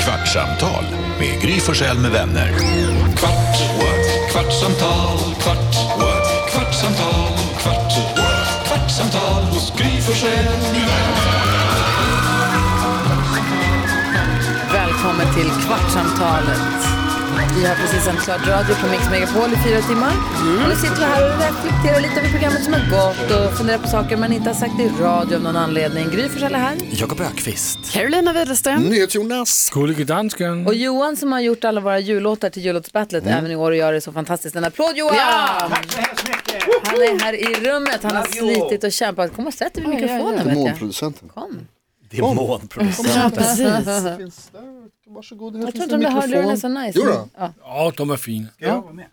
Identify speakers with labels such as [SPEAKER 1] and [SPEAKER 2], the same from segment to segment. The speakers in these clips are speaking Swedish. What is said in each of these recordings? [SPEAKER 1] Kvartsamtal med Gry Forssell med vänner. Kvart, what? kvartsamtal, kvart, what? kvartsamtal, kvart, what? kvartsamtal hos Gry Forssell med vänner.
[SPEAKER 2] Välkommen till Kvartsamtalet. Vi har precis sänt klart radio på Mix Megapol i fyra timmar. Och nu sitter vi här och reflekterar lite över programmet som har gått och funderar på saker man inte har sagt i radio av någon anledning. Gry Forssell är här.
[SPEAKER 3] Jakob Ökvist.
[SPEAKER 4] Carolina Widerström.
[SPEAKER 5] Mm,
[SPEAKER 3] NyhetsJonas.
[SPEAKER 6] Gullige dansken.
[SPEAKER 2] Och Johan som har gjort alla våra jullåtar till jullåtsbattlet även i år och gör det så fantastiskt. En applåd Johan!
[SPEAKER 4] Ja!
[SPEAKER 2] Mm. Tack så hemskt mycket! Han är här i rummet, han har slitit och kämpat. Kom och sätt dig vid mikrofonen vet jag.
[SPEAKER 3] Månproducenten.
[SPEAKER 2] Kom.
[SPEAKER 3] Det är månproducenten.
[SPEAKER 4] Ja, precis.
[SPEAKER 3] Varsågod, här
[SPEAKER 2] Jag tror inte de där hörlurarna är så nice.
[SPEAKER 3] Jo då.
[SPEAKER 2] Ja.
[SPEAKER 6] Ja, de är fina.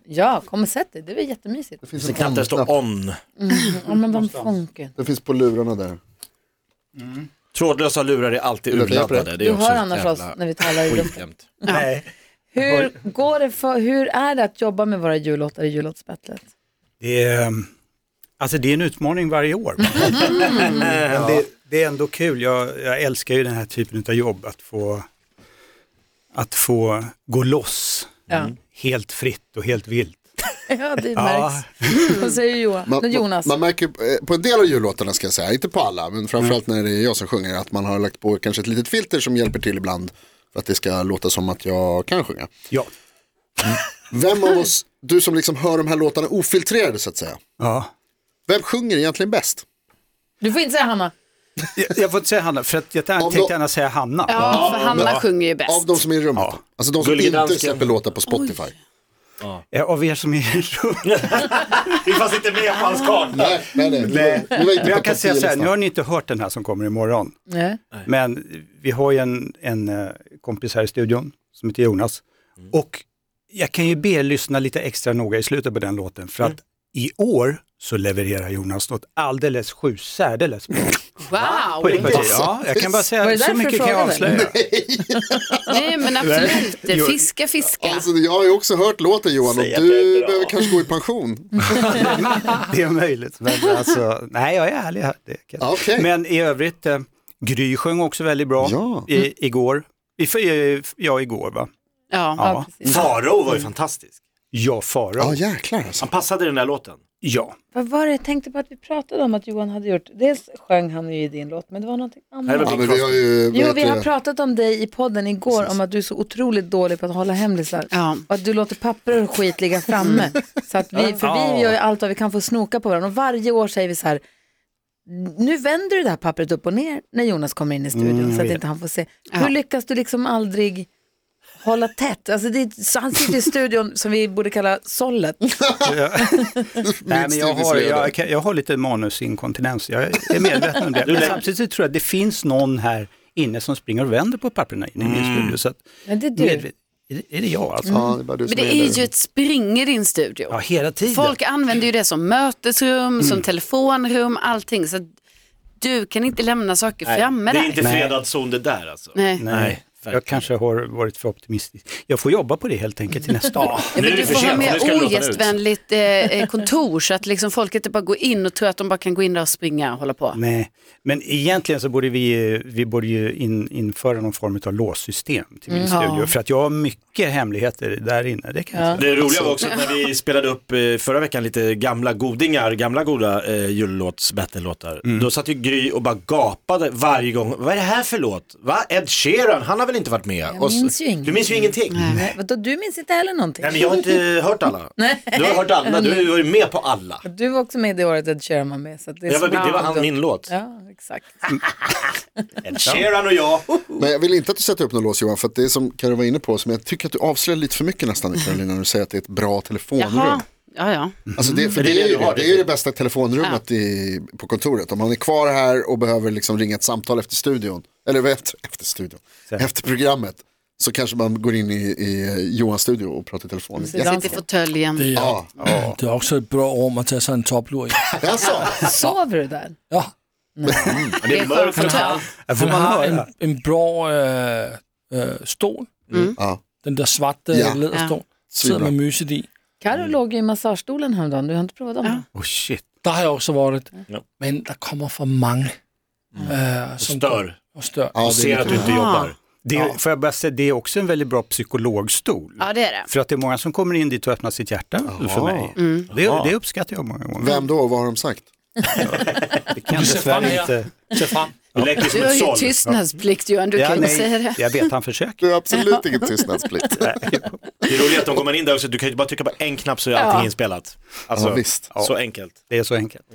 [SPEAKER 2] ja, kom och sätt dig. Det var jättemysigt.
[SPEAKER 3] Det finns
[SPEAKER 7] Det
[SPEAKER 3] en
[SPEAKER 7] knappt där
[SPEAKER 3] on-knapp.
[SPEAKER 7] står on.
[SPEAKER 2] Ja, men vad funken.
[SPEAKER 3] Den finns på lurarna där.
[SPEAKER 7] Trådlösa lurar är alltid
[SPEAKER 3] Lurar, jag
[SPEAKER 7] urladdade. Det är
[SPEAKER 2] Du
[SPEAKER 7] också
[SPEAKER 2] hör
[SPEAKER 7] ett
[SPEAKER 2] annars
[SPEAKER 7] jävla
[SPEAKER 2] oss när vi talar i luften.
[SPEAKER 7] skitjämt.
[SPEAKER 2] Hur, går det för, hur är det att jobba med våra jullåtar i jullåtsbattlet?
[SPEAKER 8] Det är, alltså det är en utmaning varje år. Men det, det är ändå kul. Jag, jag älskar ju den här typen av jobb, att få, att få gå loss
[SPEAKER 2] Ja.
[SPEAKER 7] Mm.
[SPEAKER 8] helt fritt och helt vilt.
[SPEAKER 2] ja, det
[SPEAKER 8] Ja.
[SPEAKER 2] märks. Vad säger Johan?
[SPEAKER 5] Man,
[SPEAKER 2] Nej, Jonas?
[SPEAKER 5] man märker eh, på en del av jullåtarna ska jag säga, inte på alla, men framförallt
[SPEAKER 8] Mm.
[SPEAKER 5] när det är jag som sjunger, att man har lagt på kanske ett litet filter som hjälper till ibland för att det ska låta som att jag kan sjunga.
[SPEAKER 8] Ja,
[SPEAKER 5] Vem av oss, du som liksom hör de här låtarna ofiltrerade så att säga,
[SPEAKER 8] ja.
[SPEAKER 5] vem sjunger egentligen bäst?
[SPEAKER 2] Du får inte säga Hanna.
[SPEAKER 8] Jag, jag får inte säga Hanna, för att jag
[SPEAKER 5] Om
[SPEAKER 8] tänkte
[SPEAKER 5] då-
[SPEAKER 8] gärna säga Hanna.
[SPEAKER 4] Ja, för Hanna sjunger ju
[SPEAKER 5] Av
[SPEAKER 4] bäst.
[SPEAKER 5] de som är i rummet.
[SPEAKER 8] Ja.
[SPEAKER 5] Alltså de som
[SPEAKER 7] Gullige
[SPEAKER 5] inte
[SPEAKER 7] dansken.
[SPEAKER 5] släpper låtar på Spotify.
[SPEAKER 8] Eh, Av er som är i rummet.
[SPEAKER 7] Vi fanns inte med på hans
[SPEAKER 2] Ah.
[SPEAKER 7] karta.
[SPEAKER 5] Nej, nej, nej. nej. Det var inte
[SPEAKER 8] Men
[SPEAKER 5] på
[SPEAKER 8] jag kan säga så här,
[SPEAKER 5] partilistan.
[SPEAKER 8] nu har ni inte hört den här som kommer imorgon.
[SPEAKER 2] Nej.
[SPEAKER 8] Men vi har ju en, en eh, kompis här i studion som heter Jonas.
[SPEAKER 5] Mm.
[SPEAKER 8] Och jag kan ju be er lyssna lite extra noga i slutet på den låten för
[SPEAKER 5] Mm.
[SPEAKER 8] att i år så levererar Jonas något alldeles sju särdeles bra.
[SPEAKER 4] Wow!
[SPEAKER 8] På det partiet. ja, jag kan bara
[SPEAKER 2] Var det
[SPEAKER 8] säga, så
[SPEAKER 2] därför
[SPEAKER 8] mycket
[SPEAKER 2] du
[SPEAKER 8] kan jag
[SPEAKER 2] frågade?
[SPEAKER 8] avslöja.
[SPEAKER 4] Nej men absolut, fiska fiska.
[SPEAKER 5] Alltså, jag har ju också hört låten Johan och
[SPEAKER 7] Säg att det är
[SPEAKER 5] du
[SPEAKER 7] bra.
[SPEAKER 5] behöver kanske gå i pension.
[SPEAKER 4] Mm.
[SPEAKER 8] Det är möjligt, men alltså, nej jag är ärlig här. Det kan. jag-
[SPEAKER 5] Okej.
[SPEAKER 8] Men i övrigt, eh, Gry sjöng också väldigt bra
[SPEAKER 5] Ja.
[SPEAKER 8] i, igår. I, ja, igår va?
[SPEAKER 4] Ja.
[SPEAKER 2] Ja,
[SPEAKER 8] Ja,
[SPEAKER 2] precis.
[SPEAKER 7] Farao var ju fantastisk.
[SPEAKER 8] ja Farao.
[SPEAKER 5] Ja, jäklar alltså.
[SPEAKER 7] Han passade i den där låten.
[SPEAKER 8] Ja.
[SPEAKER 2] Vad var det jag tänkte på att vi pratade om att Johan hade gjort? Dels sjöng han ju i din låt, men det var någonting
[SPEAKER 7] Här var
[SPEAKER 2] annat.
[SPEAKER 5] Ja, men vi har ju, vad
[SPEAKER 2] Jo,
[SPEAKER 5] heter
[SPEAKER 2] vi har
[SPEAKER 5] det?
[SPEAKER 2] pratat om dig i podden igår om att du är så otroligt dålig på att hålla hemlisar.
[SPEAKER 4] Ja.
[SPEAKER 2] Och att du låter papper och skit ligga framme. Så att vi, för vi gör ju allt vad vi kan för att snoka på varandra. Och varje år säger vi så här, nu vänder du det här pappret upp och ner när Jonas kommer in i studion
[SPEAKER 7] Mm,
[SPEAKER 2] så att inte han får se. Hur lyckas du liksom aldrig hålla tätt? Alltså det är, så han sitter i studion som vi borde kalla sollet.
[SPEAKER 8] Nej, men jag, har,
[SPEAKER 5] stilreserverade.
[SPEAKER 8] jag, kan- jag har lite manusinkontinens, jag är medveten om det. Men samtidigt så tror jag att det finns någon här inne som springer och vänder på papperna inne i min studio. Så att,
[SPEAKER 2] Men Mm. det är du. Mm.
[SPEAKER 8] medvet- är, det- är det jag alltså?
[SPEAKER 5] Ja, det är bara du
[SPEAKER 4] Men
[SPEAKER 5] som
[SPEAKER 4] det
[SPEAKER 5] gillar
[SPEAKER 4] är ju ett spring i din studio.
[SPEAKER 8] Ja, hela tiden.
[SPEAKER 4] Folk använder ju det som mötesrum,
[SPEAKER 7] Mm.
[SPEAKER 4] som telefonrum, allting. Så att du kan inte lämna saker framme
[SPEAKER 7] Det är
[SPEAKER 4] där.
[SPEAKER 7] inte
[SPEAKER 8] Nej.
[SPEAKER 7] fredagszon det där alltså.
[SPEAKER 4] Nej.
[SPEAKER 8] Nej, jag
[SPEAKER 7] verkligen.
[SPEAKER 8] kanske har varit för optimistisk. Jag får jobba på det helt enkelt till nästa år.
[SPEAKER 4] Ja,
[SPEAKER 7] Nu
[SPEAKER 4] men
[SPEAKER 7] är det
[SPEAKER 4] du
[SPEAKER 7] för
[SPEAKER 4] får ha
[SPEAKER 7] sent, nu ska
[SPEAKER 4] mer
[SPEAKER 7] du låta
[SPEAKER 4] ogästvänligt eh, eh, kontor så att liksom folk inte bara går in och tror att de bara kan gå in där och springa och hålla på.
[SPEAKER 8] Nej, men egentligen så borde vi, eh, vi borde ju in, införa någon form av låssystem till min
[SPEAKER 2] Mm. Ja.
[SPEAKER 8] studio. För att jag har mycket hemligheter där inne, det kan jag
[SPEAKER 2] Ja.
[SPEAKER 8] säga.
[SPEAKER 7] Det roliga var också
[SPEAKER 2] Alltså.
[SPEAKER 7] att när vi spelade upp eh, förra veckan lite gamla godingar, gamla goda eh, jullåts battle-låtar. Då satt ju Gry och bara gapade varje gång. Vad är det här för låt? Va? Ed Sheeran, han har väl inte varit med?
[SPEAKER 2] Jag minns ju ingenting.
[SPEAKER 7] Du minns ju ingenting. Nej.
[SPEAKER 2] Nej, vadå, du minns inte heller någonting?
[SPEAKER 7] men jag har inte hört alla.
[SPEAKER 2] Nej.
[SPEAKER 7] Du har hört alla, du var ju med på alla.
[SPEAKER 2] Du var också med det året Ed Sheeran var med. Så att det, är
[SPEAKER 7] Jag var,
[SPEAKER 2] så-
[SPEAKER 7] det var han, min låt.
[SPEAKER 2] Ja, exakt.
[SPEAKER 7] Ed Sheeran och jag.
[SPEAKER 5] Men jag vill inte att du sätter upp någon lås Johan, för att det är som Karin var inne på, som jag tycker att du avslöjar lite för mycket nästan Karolina, när du säger att det är ett bra telefonrum.
[SPEAKER 4] Jaha, ja
[SPEAKER 7] Mm.
[SPEAKER 4] ja.
[SPEAKER 5] Alltså det, för
[SPEAKER 7] det är
[SPEAKER 5] det, är
[SPEAKER 7] det
[SPEAKER 5] ju
[SPEAKER 7] du har,
[SPEAKER 5] det, det är ju det bästa telefonrummet i, på kontoret. Om man är kvar här och behöver liksom ringa ett samtal efter studion, eller vet, efter studion, efter programmet, så kanske man går in i, i Johans studio och pratar i telefon.
[SPEAKER 4] Sitt i fåtöljen.
[SPEAKER 6] Det är,
[SPEAKER 5] Ja,
[SPEAKER 6] det är också ett bra rum att ta sig en topplur i.
[SPEAKER 5] alltså,
[SPEAKER 2] Sover du där?
[SPEAKER 6] Ja,
[SPEAKER 7] Det är mörkt och
[SPEAKER 4] fåtölj.
[SPEAKER 7] kallt.
[SPEAKER 8] Ja, får
[SPEAKER 6] han
[SPEAKER 8] man
[SPEAKER 6] har
[SPEAKER 8] höra?
[SPEAKER 6] en, en bra äh, äh, stol,
[SPEAKER 5] ja.
[SPEAKER 6] den øh, där svarta
[SPEAKER 5] Ja.
[SPEAKER 6] läderstolen,
[SPEAKER 5] Svinbra.
[SPEAKER 6] sitter med myset i.
[SPEAKER 2] Karo låg ju i massagestolen häromdagen, du har inte provat om den?
[SPEAKER 8] Oh, shit.
[SPEAKER 6] Där har jag också varit,
[SPEAKER 7] Ja.
[SPEAKER 6] men det kommer för många. äh, som
[SPEAKER 7] Stör.
[SPEAKER 6] och stör.
[SPEAKER 5] Ja,
[SPEAKER 7] Och
[SPEAKER 5] det är
[SPEAKER 7] ser att
[SPEAKER 5] lite-
[SPEAKER 7] du inte jobbar.
[SPEAKER 8] Det, Får jag bara säga, det är också en väldigt bra psykologstol.
[SPEAKER 4] Ja, det är det.
[SPEAKER 8] För att det är många som kommer in dit och öppnar sitt hjärta för mig. Det, det uppskattar jag många gånger.
[SPEAKER 5] Vem då? Vad har de sagt?
[SPEAKER 8] Det kan
[SPEAKER 6] Du ser fram,
[SPEAKER 8] dessvärre
[SPEAKER 6] här.
[SPEAKER 8] inte...
[SPEAKER 6] ser fram.
[SPEAKER 7] Vi läcker som
[SPEAKER 4] Du har
[SPEAKER 7] ett
[SPEAKER 4] ju
[SPEAKER 7] såll.
[SPEAKER 4] tystnadsplikt Johan, du kan ju
[SPEAKER 8] nej,
[SPEAKER 4] säga det.
[SPEAKER 8] Jag vet, han försöker.
[SPEAKER 5] Du har absolut ingen tystnadsplikt.
[SPEAKER 7] Det är roligt att de kommer in där också, du kan ju bara trycka på en knapp så är allting inspelat. Alltså,
[SPEAKER 5] Ja, visst.
[SPEAKER 7] så enkelt.
[SPEAKER 8] Det är så enkelt.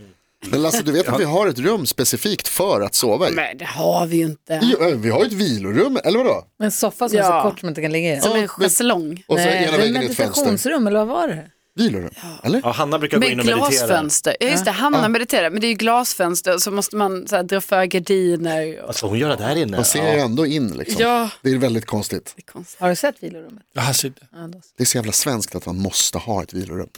[SPEAKER 5] Men Lasse, du vet att vi har ett rum specifikt för att sova i?
[SPEAKER 4] Men det har vi ju inte.
[SPEAKER 5] Jo, eh, Vi har ju ett vilorum, eller vadå?
[SPEAKER 2] En soffa som är
[SPEAKER 4] Ja.
[SPEAKER 2] så kort som man inte kan ligga i.
[SPEAKER 4] Som en
[SPEAKER 5] men-
[SPEAKER 4] schäslong.
[SPEAKER 5] Och så
[SPEAKER 2] Nej, det
[SPEAKER 5] ena
[SPEAKER 2] är
[SPEAKER 5] väggen ett fönster.
[SPEAKER 2] meditationsrum, eller vad var det?
[SPEAKER 5] Vilorum, eller?
[SPEAKER 7] Ja, Hanna brukar gå in
[SPEAKER 4] Med
[SPEAKER 7] och meditera.
[SPEAKER 4] glasfönster. Ja, just det, Hanna mediterar. Men det är ju glasfönster så måste man så här, dra för gardiner. Och...
[SPEAKER 7] Vad ska hon göra där inne?
[SPEAKER 5] Man ser ju ändå in liksom.
[SPEAKER 4] Ja.
[SPEAKER 5] Det är väldigt konstigt.
[SPEAKER 4] Det är konstigt.
[SPEAKER 2] Har du sett vilorummet?
[SPEAKER 6] Jag har sett det.
[SPEAKER 2] Ja, då så.
[SPEAKER 5] Det är så jävla svenskt att man måste ha ett vilorum.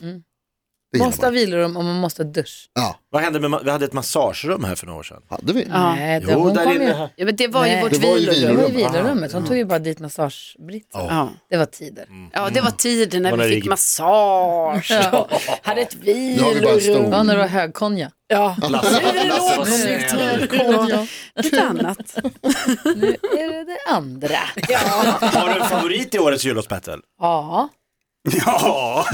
[SPEAKER 5] Det gillar
[SPEAKER 2] Måste ha
[SPEAKER 5] man.
[SPEAKER 2] vilorum och man måste ha dusch.
[SPEAKER 5] Ja,
[SPEAKER 7] Vad hände med, ma- vi hade ett massagerum här för några år sedan.
[SPEAKER 5] hade vi.
[SPEAKER 4] Ja.
[SPEAKER 2] Nej, det,
[SPEAKER 7] Jo,
[SPEAKER 2] hon
[SPEAKER 7] där
[SPEAKER 2] kom
[SPEAKER 7] inne
[SPEAKER 2] ju...
[SPEAKER 7] här.
[SPEAKER 4] Ja, men det var ju
[SPEAKER 2] Nej.
[SPEAKER 4] vårt
[SPEAKER 5] Det var ju
[SPEAKER 2] Det
[SPEAKER 5] vilorum.
[SPEAKER 4] vilorum.
[SPEAKER 2] var ju vilorummet, hon tog ju bara dit massagebritt.
[SPEAKER 4] Ja. Mm.
[SPEAKER 2] Det var tider.
[SPEAKER 4] ja, det var tiden när
[SPEAKER 7] Var
[SPEAKER 4] vi
[SPEAKER 7] det
[SPEAKER 4] fick
[SPEAKER 7] rig-
[SPEAKER 4] massage. och Hade ett
[SPEAKER 5] Nu har vi bara en
[SPEAKER 4] vilorum.
[SPEAKER 5] stol.
[SPEAKER 2] Ja, när det var högkonja.
[SPEAKER 4] Ja,
[SPEAKER 7] Lasse,
[SPEAKER 4] nu är det
[SPEAKER 7] Lasse var
[SPEAKER 4] lågkonjunktur.
[SPEAKER 7] snäll.
[SPEAKER 4] Något annat.
[SPEAKER 2] Nu är det det andra.
[SPEAKER 7] Har du en favorit i årets jullåtsbattle?
[SPEAKER 2] Ja,
[SPEAKER 8] Ja,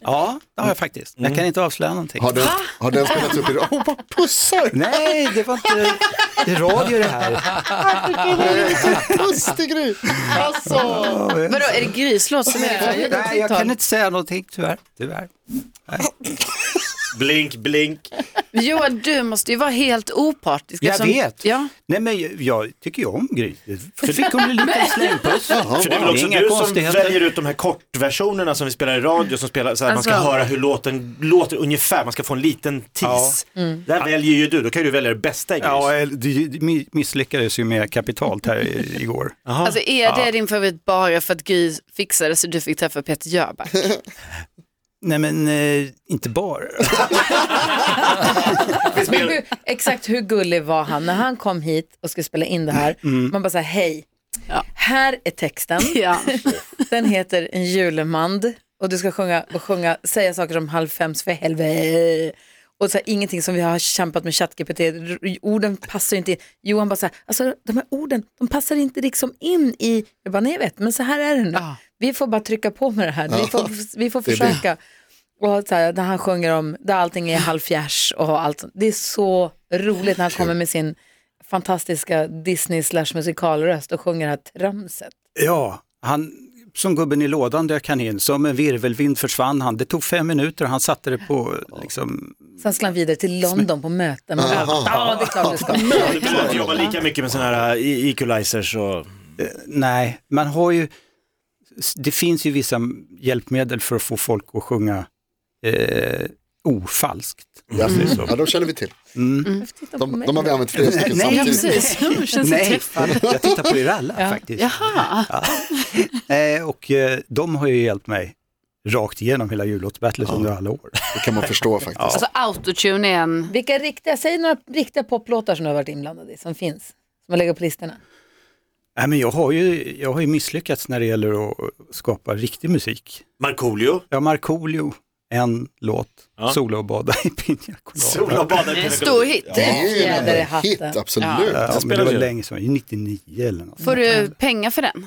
[SPEAKER 8] ja det har jag faktiskt. Jag kan inte avslöja någonting.
[SPEAKER 5] Har den, har den spelats upp i radio? Oh, vad pussar!
[SPEAKER 8] Nej, det var inte... Det är radio det här.
[SPEAKER 5] Puss till Gry! Alltså!
[SPEAKER 4] Vadå, är det Grys låt som är det?
[SPEAKER 8] Nej, jag kan inte säga någonting tyvärr. tyvärr.
[SPEAKER 7] Blink, blink.
[SPEAKER 4] Johan, du måste ju vara helt opartisk.
[SPEAKER 8] Jag
[SPEAKER 4] eftersom-
[SPEAKER 8] vet.
[SPEAKER 4] Ja.
[SPEAKER 8] Nej, men jag, jag tycker ju om Gry. För fick hon en liten slängpuss.
[SPEAKER 7] För det är väl också
[SPEAKER 8] inga
[SPEAKER 7] du som
[SPEAKER 8] konstigheter.
[SPEAKER 7] väljer ut de här kortversionerna som vi spelar i radio, som spelar, så här, man ska
[SPEAKER 4] Alltså-
[SPEAKER 7] höra hur låten låter ungefär, man ska få en liten tease.
[SPEAKER 5] Mm.
[SPEAKER 7] Där väljer ju du, då kan ju du välja det bästa i Grys.
[SPEAKER 8] Ja, eller, du du misslyckades ju med kapitalt här i- igår.
[SPEAKER 4] Alltså är det din favorit bara för att Gry fixade så du fick träffa Peter Jöback?
[SPEAKER 8] Nej, men eh, inte bara.
[SPEAKER 2] Men hur, exakt hur gullig var han när han kom hit och skulle spela in det här?
[SPEAKER 5] Mm.
[SPEAKER 2] Man bara så här, hej,
[SPEAKER 4] Ja.
[SPEAKER 2] här är texten.
[SPEAKER 4] Ja.
[SPEAKER 2] Den heter En julmand och du ska sjunga och sjunga, säga saker som halv fems för helvete. Och så här, ingenting som vi har kämpat med ChatGPT, r- orden passar ju inte in. Johan bara så här, alltså de här orden, de passar inte liksom in i, jag bara nej jag vet, men så här är det nu. Vi får bara trycka på med det här, vi får, vi får
[SPEAKER 5] är det.
[SPEAKER 2] försöka. Och så här, där han sjunger om, där allting är halvfjärs och allt sånt. Det är så roligt när han kommer med sin fantastiska Disney slash musikalröst och sjunger det här tramset.
[SPEAKER 8] Ja, han, som gubben i lådan dök han in, som en virvelvind försvann han. Det tog fem minuter och han satte det på, liksom,
[SPEAKER 2] Sen skulle han vidare till London på möten. Man bara, Ja, det är klart du ska.
[SPEAKER 7] Du behöver inte jobba lika mycket med sådana här eh, equalizers och...
[SPEAKER 8] nej, man har ju, det finns ju vissa hjälpmedel för att få folk att sjunga eh, ofalskt.
[SPEAKER 5] Ja, ja, de känner vi till.
[SPEAKER 2] Titta på
[SPEAKER 5] De,
[SPEAKER 2] mig.
[SPEAKER 5] de har vi använt flera stycken
[SPEAKER 8] Nej,
[SPEAKER 4] Ja,
[SPEAKER 5] samtidigt.
[SPEAKER 4] precis. Jag känns så
[SPEAKER 8] Nej,
[SPEAKER 4] träffad.
[SPEAKER 8] jag tittar på er alla faktiskt.
[SPEAKER 4] Jaha.
[SPEAKER 8] Eh, och eh, de har ju hjälpt mig rakt igenom hela jullåtsbattlet under alla år.
[SPEAKER 5] Det kan man förstå faktiskt.
[SPEAKER 4] Alltså autotune är en...
[SPEAKER 2] Vilka riktiga, säg några riktiga poplåtar som du har varit inblandad i, som finns, som har legat på listorna.
[SPEAKER 8] Nej, men jag, har ju, jag har ju misslyckats när det gäller att skapa riktig musik.
[SPEAKER 7] Markoolio.
[SPEAKER 8] Ja, Markoolio, en låt,
[SPEAKER 7] Ja.
[SPEAKER 8] Sola och bada i Pina Colada.
[SPEAKER 7] Sola badar
[SPEAKER 4] En stor hit.
[SPEAKER 5] Det är
[SPEAKER 2] Fjäder i
[SPEAKER 5] ju en
[SPEAKER 2] hatten.
[SPEAKER 5] hit, absolut.
[SPEAKER 8] Ja, men det
[SPEAKER 7] spelade
[SPEAKER 8] var
[SPEAKER 7] ju.
[SPEAKER 8] länge sedan, 99 eller något.
[SPEAKER 4] Får
[SPEAKER 2] Mm.
[SPEAKER 4] du pengar för den?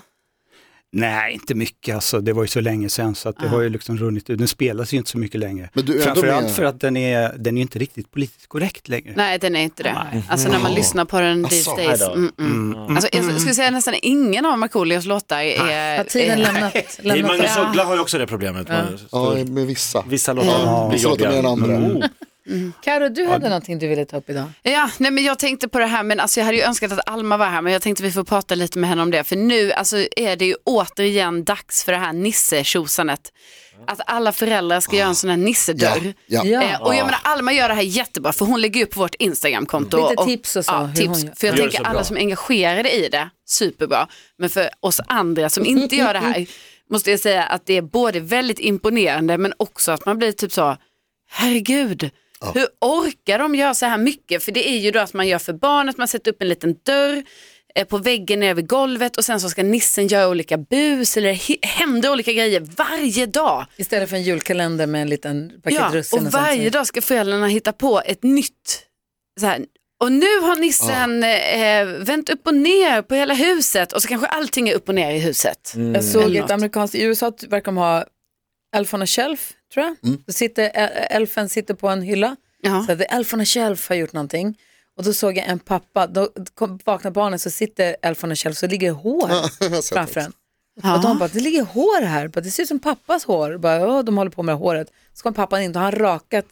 [SPEAKER 8] Nej, inte mycket alltså. Det var ju så länge sedan så att det har ju liksom runnit ut. Den spelas ju inte så mycket längre.
[SPEAKER 5] Men du är ändå
[SPEAKER 8] Framförallt
[SPEAKER 5] med-
[SPEAKER 8] för att den är, den är inte riktigt politiskt korrekt längre.
[SPEAKER 4] Nej, den är inte det. Alltså när man lyssnar på den these
[SPEAKER 5] Asså,
[SPEAKER 4] days. Mm, mm. Alltså, jag skulle säga nästan ingen av Markoolios låtar är...
[SPEAKER 2] Har tiden
[SPEAKER 4] är-
[SPEAKER 2] lämnat,
[SPEAKER 7] I
[SPEAKER 2] lämnat
[SPEAKER 7] Magnus
[SPEAKER 2] eh, det?
[SPEAKER 7] Uggla har ju också det problemet. Man-
[SPEAKER 5] Ja, med vissa.
[SPEAKER 7] Vissa låtar
[SPEAKER 5] Ja,
[SPEAKER 7] blir
[SPEAKER 5] vissa låtar
[SPEAKER 7] jobbiga.
[SPEAKER 5] mer än andra.
[SPEAKER 7] Mm.
[SPEAKER 2] Karo, du hade någonting du ville ta upp idag.
[SPEAKER 4] Ja, nej men jag tänkte på det här, men alltså jag hade ju önskat att Alma var här, men jag tänkte vi får prata lite med henne om det, för nu alltså, är det ju återigen dags för det här nisse-tjosanet. Att alla föräldrar ska göra en sån här
[SPEAKER 5] Ja,
[SPEAKER 4] nissedörr.
[SPEAKER 5] ja.
[SPEAKER 2] Ja.
[SPEAKER 4] Eh, och jag menar Alma gör det här jättebra för hon lägger upp på vårt Instagramkonto.
[SPEAKER 2] Lite tips och så, hur
[SPEAKER 4] Ja,
[SPEAKER 2] hon
[SPEAKER 4] tips.
[SPEAKER 2] gör.
[SPEAKER 4] För jag
[SPEAKER 7] Gör det
[SPEAKER 4] tänker
[SPEAKER 7] så
[SPEAKER 4] alla
[SPEAKER 7] bra.
[SPEAKER 4] som är engagerade i det, superbra. Men för oss andra som inte gör det här måste jag säga att det är både väldigt imponerande men också att man blir typ så, herregud. Hur orkar de göra så här mycket? För det är ju då att man gör för barnet, man sätter upp en liten dörr eh, på väggen nere vid golvet och sen så ska nissen göra olika bus eller he- händer olika grejer varje dag.
[SPEAKER 2] Istället för en julkalender med en liten paket
[SPEAKER 4] Ja,
[SPEAKER 2] russin.
[SPEAKER 4] och
[SPEAKER 2] sånt.
[SPEAKER 4] varje dag ska föräldrarna hitta på ett nytt så här, Och nu har nissen eh, vänt upp och ner på hela huset och så kanske allting är upp och ner i huset.
[SPEAKER 7] Mm.
[SPEAKER 2] Jag såg
[SPEAKER 4] Eller
[SPEAKER 2] ett
[SPEAKER 4] något.
[SPEAKER 2] amerikanskt, i USA verkar de ha Elf on a shelf, tror jag. Då sitter, ä- elfen sitter på en hylla.
[SPEAKER 4] Ja.
[SPEAKER 2] Så att Elf on a shelf har gjort någonting. Och då såg jag en pappa, då kom, vaknar barnen så sitter Elf on a shelf så ligger det hår framför en. Och de bara, det ligger hår här, bara, det ser ut som pappas hår. Bara, "Åh, de håller på med håret. Så kom pappan in och har han rakat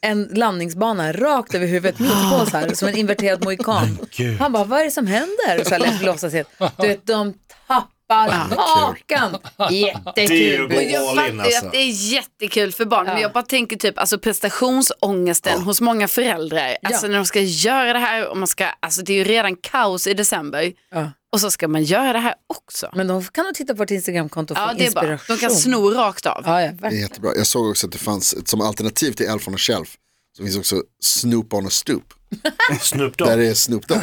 [SPEAKER 2] en landningsbana rakt över huvudet mitt på så här, som en inverterad mohikan. Han bara, vad är det som händer? Så här lät låtsas helt. Du vet, de tappar hakan. Jättekul.
[SPEAKER 4] Men jag fattar ju
[SPEAKER 7] alltså.
[SPEAKER 4] att det är jättekul för barn, men jag bara tänker typ alltså prestationsångesten hos många föräldrar. Alltså när de ska göra det här och man ska, alltså det är ju redan kaos i december
[SPEAKER 2] Ja.
[SPEAKER 4] och så ska man göra det här också.
[SPEAKER 2] Men de kan nog titta på vårt Instagramkonto och få
[SPEAKER 4] Ja, det är bara,
[SPEAKER 2] inspiration.
[SPEAKER 4] de kan sno rakt av.
[SPEAKER 2] Ja, ja,
[SPEAKER 5] Det är
[SPEAKER 2] verkligen.
[SPEAKER 5] jättebra. Jag såg också att det fanns ett- som alternativ till Elf on a Shelf så finns också Snoop on a Stoop.
[SPEAKER 7] Snoop
[SPEAKER 5] Där
[SPEAKER 7] Dogg.
[SPEAKER 5] är Snoop Dogg.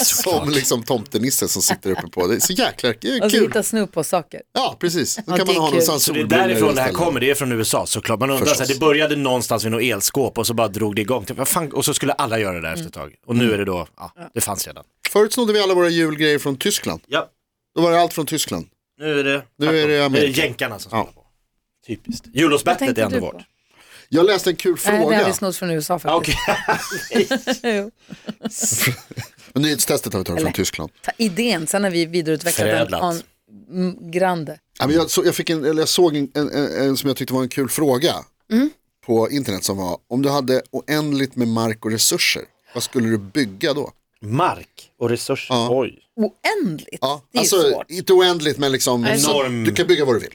[SPEAKER 5] som liksom tomtenisse som sitter uppe på. Det är så jäkla det är
[SPEAKER 2] Och så
[SPEAKER 5] kul.
[SPEAKER 2] hitta snopp på saker.
[SPEAKER 5] Ja, precis. Då kan
[SPEAKER 2] det är
[SPEAKER 5] man ha någon
[SPEAKER 2] kul.
[SPEAKER 5] sån
[SPEAKER 7] Så det är
[SPEAKER 5] solbrunn
[SPEAKER 7] därifrån det här
[SPEAKER 5] istället.
[SPEAKER 7] kommer, det är från USA såklart. Man undrar, så
[SPEAKER 5] Förstås.
[SPEAKER 7] här, det började någonstans vid något elskåp och så bara drog det igång. Typ, vad fan? Och så skulle alla göra det där efter ett tag. Och nu är det då, ja, det fanns redan.
[SPEAKER 5] Förut snodde vi alla våra julgrejer från Tyskland.
[SPEAKER 7] Ja,
[SPEAKER 5] Då var det allt från Tyskland.
[SPEAKER 7] nu är det,
[SPEAKER 5] Nu är det Amerika.
[SPEAKER 7] jänkarna som
[SPEAKER 5] Ja.
[SPEAKER 7] spelar på. Typiskt. Jullåtsbettet är
[SPEAKER 2] tänkte
[SPEAKER 7] ändå
[SPEAKER 2] du
[SPEAKER 7] vårt.
[SPEAKER 2] på?
[SPEAKER 5] Jag läste en kul
[SPEAKER 2] Nej, det
[SPEAKER 5] fråga.
[SPEAKER 2] hade vi snott från USA faktiskt.
[SPEAKER 7] Okej,
[SPEAKER 2] Jo.
[SPEAKER 5] Nyhetstestet har vi tagit från Tyskland.
[SPEAKER 2] Ta idén, sen har vi vidareutvecklat den.
[SPEAKER 7] Förädlat.
[SPEAKER 2] On, mm, grande.
[SPEAKER 5] Ja, men jag, så, jag, fick en, eller jag såg en, en, en, en som jag tyckte var en kul fråga
[SPEAKER 2] Mm.
[SPEAKER 5] på internet som var om du hade oändligt med mark och resurser, vad skulle du bygga då?
[SPEAKER 7] mark och resurser.
[SPEAKER 8] Mm.
[SPEAKER 7] Oj.
[SPEAKER 2] Oändligt,
[SPEAKER 5] Ja,
[SPEAKER 2] det är ju
[SPEAKER 5] alltså
[SPEAKER 2] svårt.
[SPEAKER 5] inte oändligt men liksom
[SPEAKER 7] Enorm.
[SPEAKER 5] du kan bygga vad du vill.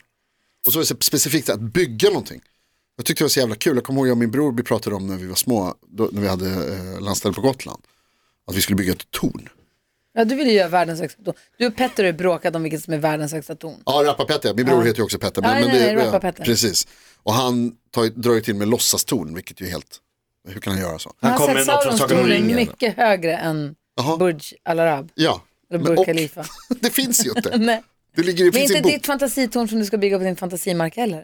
[SPEAKER 5] Och så är det så specifikt att bygga någonting. Jag tyckte det var så jävla kul, jag kommer ihåg jag och min bror vi pratade om när vi var små, då, när vi hade eh, landställe på Gotland. Att vi skulle bygga ett torn.
[SPEAKER 2] Ja, du vill ju göra världens högsta ton. Du och Petter har ju bråkat om vilket som är världens högsta ton.
[SPEAKER 5] Ja, Rappapetter, min bror heter ju också Petter. Men,
[SPEAKER 2] Ja,
[SPEAKER 5] men
[SPEAKER 2] nej,
[SPEAKER 5] det,
[SPEAKER 2] nej, Rappapetter.
[SPEAKER 5] Precis. Och han tar, ju- drar ju till med låtsastorn, vilket ju är helt, hur kan han göra så?
[SPEAKER 2] Jag
[SPEAKER 7] Han
[SPEAKER 2] har
[SPEAKER 7] kommer
[SPEAKER 2] sett
[SPEAKER 7] med något från
[SPEAKER 2] Saurons
[SPEAKER 7] Sagan om
[SPEAKER 2] torn Alltså, är
[SPEAKER 7] ringen.
[SPEAKER 2] mycket högre än
[SPEAKER 5] Jaha.
[SPEAKER 2] Burj Al Arab.
[SPEAKER 5] Ja.
[SPEAKER 2] Eller
[SPEAKER 5] Men-
[SPEAKER 2] Burj
[SPEAKER 5] och-
[SPEAKER 2] Khalifa.
[SPEAKER 5] det finns ju inte.
[SPEAKER 2] Nej.
[SPEAKER 5] Det ligger, det
[SPEAKER 2] Men
[SPEAKER 5] finns
[SPEAKER 2] inte
[SPEAKER 5] inte i en bok.
[SPEAKER 2] ditt fantasitorn som du ska bygga på din fantasimark heller.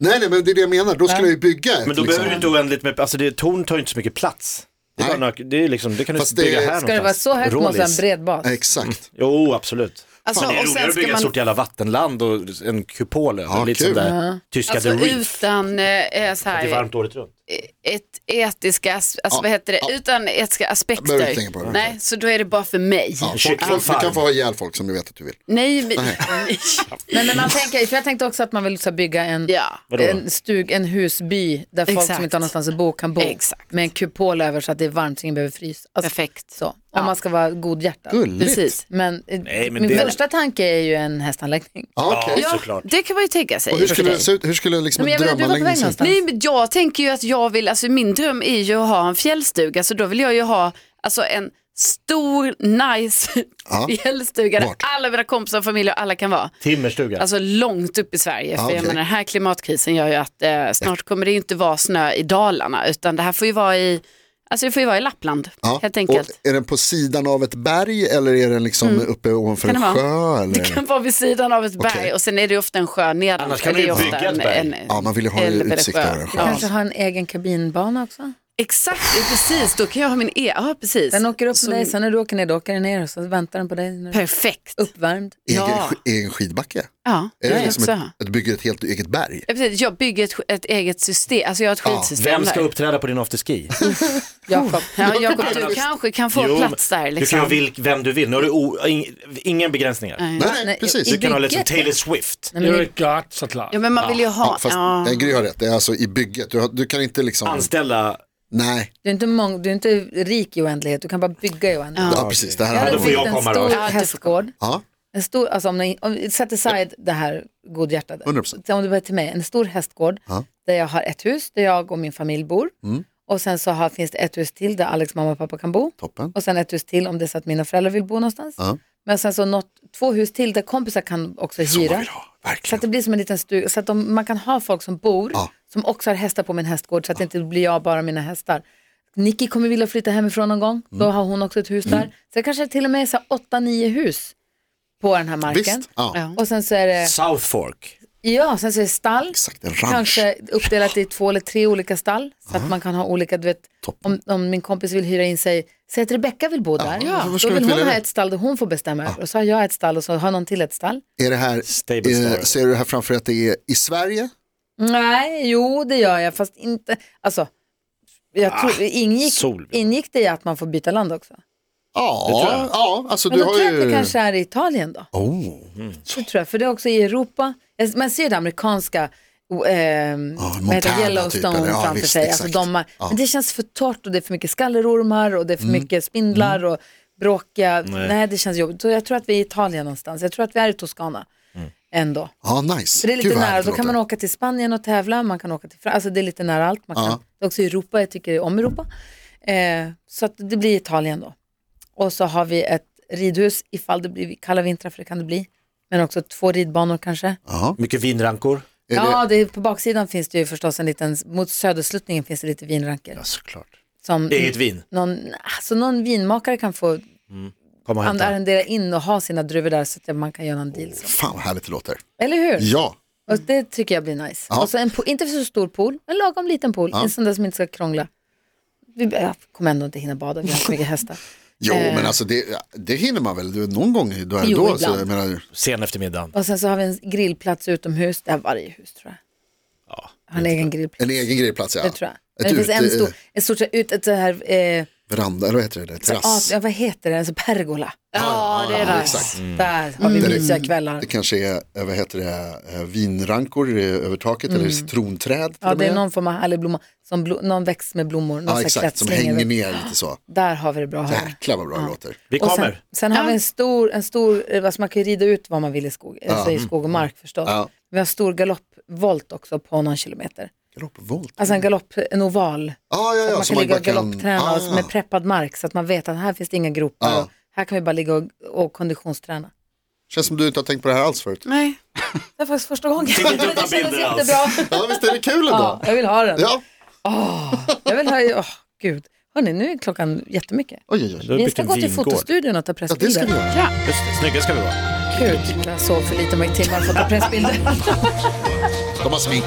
[SPEAKER 5] Nej, nej, men det är det jag menar. Då skulle jag ju bygga ett.
[SPEAKER 7] Men då
[SPEAKER 5] liksom.
[SPEAKER 7] behöver du inte oändligt med, alltså det, torn tar ju inte så mycket plats. Det, är
[SPEAKER 5] Nej.
[SPEAKER 7] bara, några- det, är liksom, det kan du
[SPEAKER 5] Fast
[SPEAKER 7] bygga
[SPEAKER 5] det-
[SPEAKER 7] här
[SPEAKER 2] Ska det vara så högt måste ha en bred bas.
[SPEAKER 5] Ja, Exakt.
[SPEAKER 7] Jo, absolut.
[SPEAKER 4] Alltså,
[SPEAKER 7] det är
[SPEAKER 4] och
[SPEAKER 7] roligare
[SPEAKER 4] sen
[SPEAKER 7] att
[SPEAKER 4] ska
[SPEAKER 7] bygga ett
[SPEAKER 4] man,
[SPEAKER 7] stort jävla vattenland och en kupol över.
[SPEAKER 5] Ja,
[SPEAKER 7] lite som
[SPEAKER 5] kul.
[SPEAKER 7] där tyska
[SPEAKER 4] alltså
[SPEAKER 7] The Reef.
[SPEAKER 4] utan eh, så
[SPEAKER 7] Det är
[SPEAKER 4] här, eh,
[SPEAKER 7] varmt året runt.
[SPEAKER 4] ett etiska, as- alltså vad heter det, utan etiska
[SPEAKER 5] Behöver
[SPEAKER 4] aspekter.
[SPEAKER 5] inte tänka på det.
[SPEAKER 4] Nej, så då är det bara för mig.
[SPEAKER 5] Ja, folk,
[SPEAKER 7] Kyckling
[SPEAKER 5] folk, du
[SPEAKER 7] farm.
[SPEAKER 5] kan få ha ihjäl folk som du vet att du vill.
[SPEAKER 4] Nej, men...
[SPEAKER 2] Nej, men man tänker, för jag tänkte också att man vill så här, bygga en,
[SPEAKER 4] Ja.
[SPEAKER 7] Vadå?
[SPEAKER 2] en, stug, en husby där folk
[SPEAKER 4] Exakt.
[SPEAKER 2] som inte har någonstans att bo kan bo.
[SPEAKER 4] Exakt.
[SPEAKER 2] Med en kupol över så att det är varmt så ingen behöver frysa. Alltså,
[SPEAKER 4] Perfekt.
[SPEAKER 2] Så, om man ska vara godhjärtad.
[SPEAKER 4] Precis.
[SPEAKER 2] Men, eh,
[SPEAKER 7] Nej, men
[SPEAKER 2] min
[SPEAKER 7] det-
[SPEAKER 2] första tanke är ju en hästanläggning.
[SPEAKER 5] Ja, okej.
[SPEAKER 7] Ja,
[SPEAKER 4] Ja,
[SPEAKER 7] såklart.
[SPEAKER 4] det kan man ju tänka sig.
[SPEAKER 5] Och hur
[SPEAKER 4] i och för
[SPEAKER 5] skulle
[SPEAKER 4] sig.
[SPEAKER 5] det se ut? Hur skulle liksom
[SPEAKER 2] Men
[SPEAKER 5] en
[SPEAKER 2] jag menar, du var på
[SPEAKER 5] drömanläggning
[SPEAKER 2] väg
[SPEAKER 5] se ut?
[SPEAKER 2] någonstans.
[SPEAKER 4] Nej, men jag tänker ju att jag vill, alltså min dröm är ju att ha en fjällstuga, så då vill jag ju ha alltså en stor, nice
[SPEAKER 5] Ja.
[SPEAKER 4] fjällstuga där
[SPEAKER 5] Vart?
[SPEAKER 4] alla mina kompisar och familjer och alla kan vara.
[SPEAKER 7] Timmerstuga.
[SPEAKER 4] Alltså långt upp i Sverige, för
[SPEAKER 5] Ah, okej.
[SPEAKER 4] jag menar den här klimatkrisen gör ju att eh, snart kommer det ju inte vara snö i Dalarna, utan det här får ju vara i, alltså det får ju vara i Lappland,
[SPEAKER 5] Ja,
[SPEAKER 4] helt enkelt.
[SPEAKER 5] Och är den på sidan av ett berg eller är den liksom uppe ovanför
[SPEAKER 4] Kan
[SPEAKER 5] en
[SPEAKER 4] det vara?
[SPEAKER 5] sjö? Eller?
[SPEAKER 4] Det kan vara vid sidan av ett berg och sen är det ju ofta en sjö nedanför.
[SPEAKER 7] Annars kan
[SPEAKER 4] det
[SPEAKER 7] man ju
[SPEAKER 4] är ofta
[SPEAKER 7] bygga ett
[SPEAKER 4] en-
[SPEAKER 7] berg.
[SPEAKER 4] en-
[SPEAKER 5] Ja, man vill ju ha
[SPEAKER 4] älv eller
[SPEAKER 5] utsikt
[SPEAKER 4] sjö.
[SPEAKER 5] över en sjö.
[SPEAKER 4] Ja.
[SPEAKER 2] Kanske ha en egen kabinbana också.
[SPEAKER 4] Exakt, ja, precis, då kan jag ha min e, ja precis.
[SPEAKER 2] Den åker upp på
[SPEAKER 4] Som-
[SPEAKER 2] dig, sen när du åker ner, då åker den ner och så väntar den på dig. När du är
[SPEAKER 4] Perfekt.
[SPEAKER 2] uppvärmd.
[SPEAKER 5] Egen,
[SPEAKER 4] Ja.
[SPEAKER 5] sk- egen skidbacke?
[SPEAKER 4] Ja,
[SPEAKER 5] Är
[SPEAKER 4] jag
[SPEAKER 5] det liksom
[SPEAKER 4] också.
[SPEAKER 5] ett, ett, bygger ett helt eget berg?
[SPEAKER 4] Ja, precis. Jag bygger ett, ett eget system, alltså jag har ett skidsystem
[SPEAKER 7] Vem ska
[SPEAKER 4] där.
[SPEAKER 7] uppträda på din afterski?
[SPEAKER 2] Jakob.
[SPEAKER 4] Ja, Jakob, du kanske kan få
[SPEAKER 7] Jo,
[SPEAKER 4] plats där.
[SPEAKER 7] Du kan
[SPEAKER 4] Liksom.
[SPEAKER 7] ha vilk, vem du vill. Nu har du o, ing, inga begränsningar.
[SPEAKER 4] Nej.
[SPEAKER 5] Nej, nej,
[SPEAKER 2] Nej,
[SPEAKER 5] precis.
[SPEAKER 2] i-
[SPEAKER 7] Du kan ha liksom
[SPEAKER 2] Bygget.
[SPEAKER 7] Taylor Swift.
[SPEAKER 6] Det är klart såklart.
[SPEAKER 4] Ja, men man vill ju ha...
[SPEAKER 5] Ja, fast
[SPEAKER 4] Ja,
[SPEAKER 5] nej, Gry har rätt, det är alltså i bygget. Du, har, du kan inte liksom...
[SPEAKER 7] Anställa,
[SPEAKER 5] Nej,
[SPEAKER 2] Du är, inte mång, du är inte rik i oändlighet, du kan bara bygga i oändlighet.
[SPEAKER 5] ja, precis. Det här
[SPEAKER 2] Jag
[SPEAKER 5] handlar
[SPEAKER 2] hade
[SPEAKER 7] då får
[SPEAKER 5] om...
[SPEAKER 7] jag
[SPEAKER 2] byggt en
[SPEAKER 7] komma
[SPEAKER 2] stor
[SPEAKER 7] då.
[SPEAKER 4] Ja, du får
[SPEAKER 2] hästgård.
[SPEAKER 5] Ja,
[SPEAKER 2] En stor, alltså om, ni, om Set aside det här godhjärtade.
[SPEAKER 5] 100%.
[SPEAKER 2] Så Om du börjar till mig, en stor hästgård
[SPEAKER 5] Ja.
[SPEAKER 2] där jag har ett hus där jag och min familj bor. Och sen så har, finns det ett hus till där Alex mamma och pappa kan bo.
[SPEAKER 5] toppen.
[SPEAKER 2] Och sen ett hus till om det är så att mina föräldrar vill bo någonstans.
[SPEAKER 5] Ja.
[SPEAKER 2] Men sen så något, två hus till där kompisar kan också hyra. Så att det blir som en liten stuga, så att de, man kan ha folk som bor,
[SPEAKER 5] Ja.
[SPEAKER 2] som också har hästar på min hästgård, så att det inte blir jag bara och mina hästar. Nicky kommer vilja flytta hemifrån någon gång,
[SPEAKER 5] Mm.
[SPEAKER 2] då har hon också ett hus där. Så det kanske är till och med så här åtta, nio hus på den här marken.
[SPEAKER 5] Visst, ja.
[SPEAKER 4] Ja.
[SPEAKER 2] Och sen så är det,
[SPEAKER 7] South Fork.
[SPEAKER 2] Ja, sen så är det stall.
[SPEAKER 5] Exakt, en ranch.
[SPEAKER 2] Kanske uppdelat i två eller tre olika stall. Så att man kan ha olika, du vet, om, om min kompis vill hyra in sig, säg att Rebecka vill bo där.
[SPEAKER 5] varför
[SPEAKER 2] Då
[SPEAKER 5] skulle
[SPEAKER 2] vill
[SPEAKER 5] vi inte
[SPEAKER 2] hon
[SPEAKER 5] vilja
[SPEAKER 2] ha
[SPEAKER 5] det?
[SPEAKER 2] ett stall där hon får bestämma över. Och så har jag ett stall och så har någon till ett stall.
[SPEAKER 5] Är det här,
[SPEAKER 7] Stable
[SPEAKER 5] eh,
[SPEAKER 7] story.
[SPEAKER 5] ser du här framför dig att det är i Sverige?
[SPEAKER 2] Nej, jo det gör jag, fast inte, alltså, jag
[SPEAKER 5] Ah,
[SPEAKER 2] tror, ingick,
[SPEAKER 7] sol.
[SPEAKER 2] ingick det i att man får byta land också?
[SPEAKER 5] Ja,
[SPEAKER 7] tror jag.
[SPEAKER 5] ja alltså
[SPEAKER 2] Men
[SPEAKER 5] du
[SPEAKER 2] då
[SPEAKER 5] har
[SPEAKER 2] tror jag att
[SPEAKER 5] ju...
[SPEAKER 2] det kanske är i Italien då.
[SPEAKER 5] Oh.
[SPEAKER 2] Det tror jag, för det är också i Europa. Jag- Man ser ju det amerikanska o- ehm, vad heter det,
[SPEAKER 5] Ah, Montana
[SPEAKER 2] Yellowstone
[SPEAKER 5] typ, eller? Ja,
[SPEAKER 2] framför
[SPEAKER 5] visst,
[SPEAKER 2] sig.
[SPEAKER 5] exakt.
[SPEAKER 2] Alltså, de har, Men det känns för torrt och det är för mycket skallerormar och det är
[SPEAKER 5] Mm.
[SPEAKER 2] för mycket spindlar och bråkiga. Nej. det känns jobbigt. Så jag tror att vi är i Italien någonstans. Jag tror att vi är i Toscana
[SPEAKER 5] Mm.
[SPEAKER 2] ändå.
[SPEAKER 5] Ja, nice.
[SPEAKER 2] Så det är lite
[SPEAKER 5] Gud, vad
[SPEAKER 2] nära.
[SPEAKER 5] härligt
[SPEAKER 2] Då
[SPEAKER 5] det
[SPEAKER 2] kan man
[SPEAKER 5] låter.
[SPEAKER 2] åka till Spanien och tävla. Man kan åka till Frankrike. Alltså det är lite nära allt. Man kan,
[SPEAKER 5] Ja.
[SPEAKER 2] Det är också Europa. Jag tycker om Europa. Eh, så att det blir Italien då. Och så har vi ett ridhus ifall det blir kalla vintrar, för det kan det bli. Men också två ridbanor kanske.
[SPEAKER 7] Mycket vinrankor.
[SPEAKER 5] Är det-
[SPEAKER 2] Ja, det, på baksidan finns det ju förstås en liten, mot södersluttningen finns det lite vinranker.
[SPEAKER 7] såklart.
[SPEAKER 2] Som
[SPEAKER 7] Eget vin.
[SPEAKER 2] någon, alltså någon vinmakare kan få
[SPEAKER 7] Kom och
[SPEAKER 2] an-
[SPEAKER 7] hämta.
[SPEAKER 2] arrendera in och ha sina druvor där så att man kan göra någon deal. Så.
[SPEAKER 5] Fan vad härligt det låter.
[SPEAKER 2] Eller hur?
[SPEAKER 5] Ja,
[SPEAKER 2] Och det tycker jag blir nice.
[SPEAKER 5] Ja.
[SPEAKER 2] Och så en po- inte så stor pool, en lagom liten pool. En sån där som inte ska krångla. Vi jag kommer ändå inte hinna bada, vi har så mycket hästar.
[SPEAKER 5] jo men alltså det, det hinner man väl. Du, någon gång då är
[SPEAKER 2] Eh. Jo,
[SPEAKER 5] då. Så,
[SPEAKER 2] ibland.
[SPEAKER 5] jag menar,
[SPEAKER 7] Sen eftermiddag.
[SPEAKER 2] Och sen så har vi en grillplats utomhus, det har varje hus tror jag. har en egen grillplats,
[SPEAKER 5] en egen grejplats ja.
[SPEAKER 2] det tror jag. Men
[SPEAKER 5] Ett
[SPEAKER 2] det finns
[SPEAKER 5] ut,
[SPEAKER 2] en
[SPEAKER 5] eh,
[SPEAKER 2] stor, ett stort, ut, ett så här, eh,
[SPEAKER 5] veranda, eller vad heter det?
[SPEAKER 2] ah,
[SPEAKER 5] Terrass.
[SPEAKER 2] ja, vad heter det, alltså pergola.
[SPEAKER 4] Ja, det är det.
[SPEAKER 5] Exakt. Mm.
[SPEAKER 2] Där har vi mysiga kvällar.
[SPEAKER 5] Det kanske är, eh, vad heter det, eh, vinrankor eh, över taket eller citronträd. till
[SPEAKER 2] Mm. Ja,
[SPEAKER 5] och
[SPEAKER 2] det är
[SPEAKER 5] med.
[SPEAKER 2] någon form av härlig blomma, som blo- någon växt med blommor, någon
[SPEAKER 5] ja,
[SPEAKER 2] så här
[SPEAKER 5] exakt, som
[SPEAKER 2] kretslinge.
[SPEAKER 5] hänger ner lite så.
[SPEAKER 2] Där har vi det bra. hörni.
[SPEAKER 5] Jäklar vad bra det låter.
[SPEAKER 7] Vi
[SPEAKER 2] Och
[SPEAKER 7] kommer.
[SPEAKER 2] Sen, sen har vi en stor, en stor eh, alltså man kan ju rida ut vad man vill i skog, alltså i skog och mark förstås.
[SPEAKER 5] Ja.
[SPEAKER 2] Vi har en stor galoppvolt också på någon kilometer.
[SPEAKER 5] Galoppvolt.
[SPEAKER 2] Alltså en galopp, en oval.
[SPEAKER 5] Ah, ja,
[SPEAKER 2] Så
[SPEAKER 5] ja,
[SPEAKER 2] man
[SPEAKER 5] så
[SPEAKER 2] kan ligga
[SPEAKER 5] bara
[SPEAKER 2] och galoppträna och-
[SPEAKER 5] Ah,
[SPEAKER 2] med preppad mark så att man vet att här finns det inga gropar.
[SPEAKER 5] Ja.
[SPEAKER 2] Och här kan vi bara ligga och, och konditionsträna.
[SPEAKER 5] Känns som du inte har tänkt på det här alls förut.
[SPEAKER 4] Nej.
[SPEAKER 2] Det var faktiskt första gången.
[SPEAKER 7] Fick inte upp några
[SPEAKER 2] Det kändes
[SPEAKER 7] bilder alls.
[SPEAKER 2] jättebra.
[SPEAKER 5] Ja, visst är det kul
[SPEAKER 2] Ja,
[SPEAKER 5] ändå?
[SPEAKER 2] jag vill ha den.
[SPEAKER 5] alltså. Ja,
[SPEAKER 2] Jag vill ha, åh gud. Hörni, nu är klockan jättemycket.
[SPEAKER 5] oj, oj, oj.
[SPEAKER 7] Du har
[SPEAKER 2] Vi
[SPEAKER 7] byggt
[SPEAKER 2] ska
[SPEAKER 7] en
[SPEAKER 2] gå till
[SPEAKER 7] vingård.
[SPEAKER 2] fotostudion och ta
[SPEAKER 5] Ja, det ska
[SPEAKER 2] pressbilder.
[SPEAKER 5] vi göra.
[SPEAKER 7] Just det, snygga ska vi vara.
[SPEAKER 2] Gud, jag sov för lite många timmar för att ta pressbilder.
[SPEAKER 5] De har smink.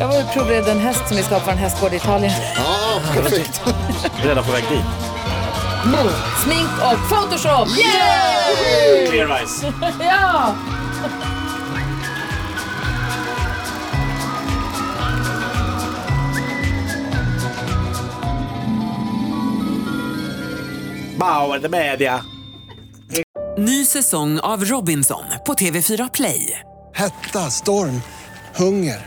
[SPEAKER 2] Jag var och provredde en häst som vi ska ha på en hästgård i Italien.
[SPEAKER 5] Ja, perfekt.
[SPEAKER 7] Redan på väg dit.
[SPEAKER 2] Move, smink och Photoshop!
[SPEAKER 7] Clear eyes.
[SPEAKER 2] Ja!
[SPEAKER 7] Bauer the media.
[SPEAKER 9] Ny säsong av Robinson på TV4 Play.
[SPEAKER 10] Hetta, storm, hunger.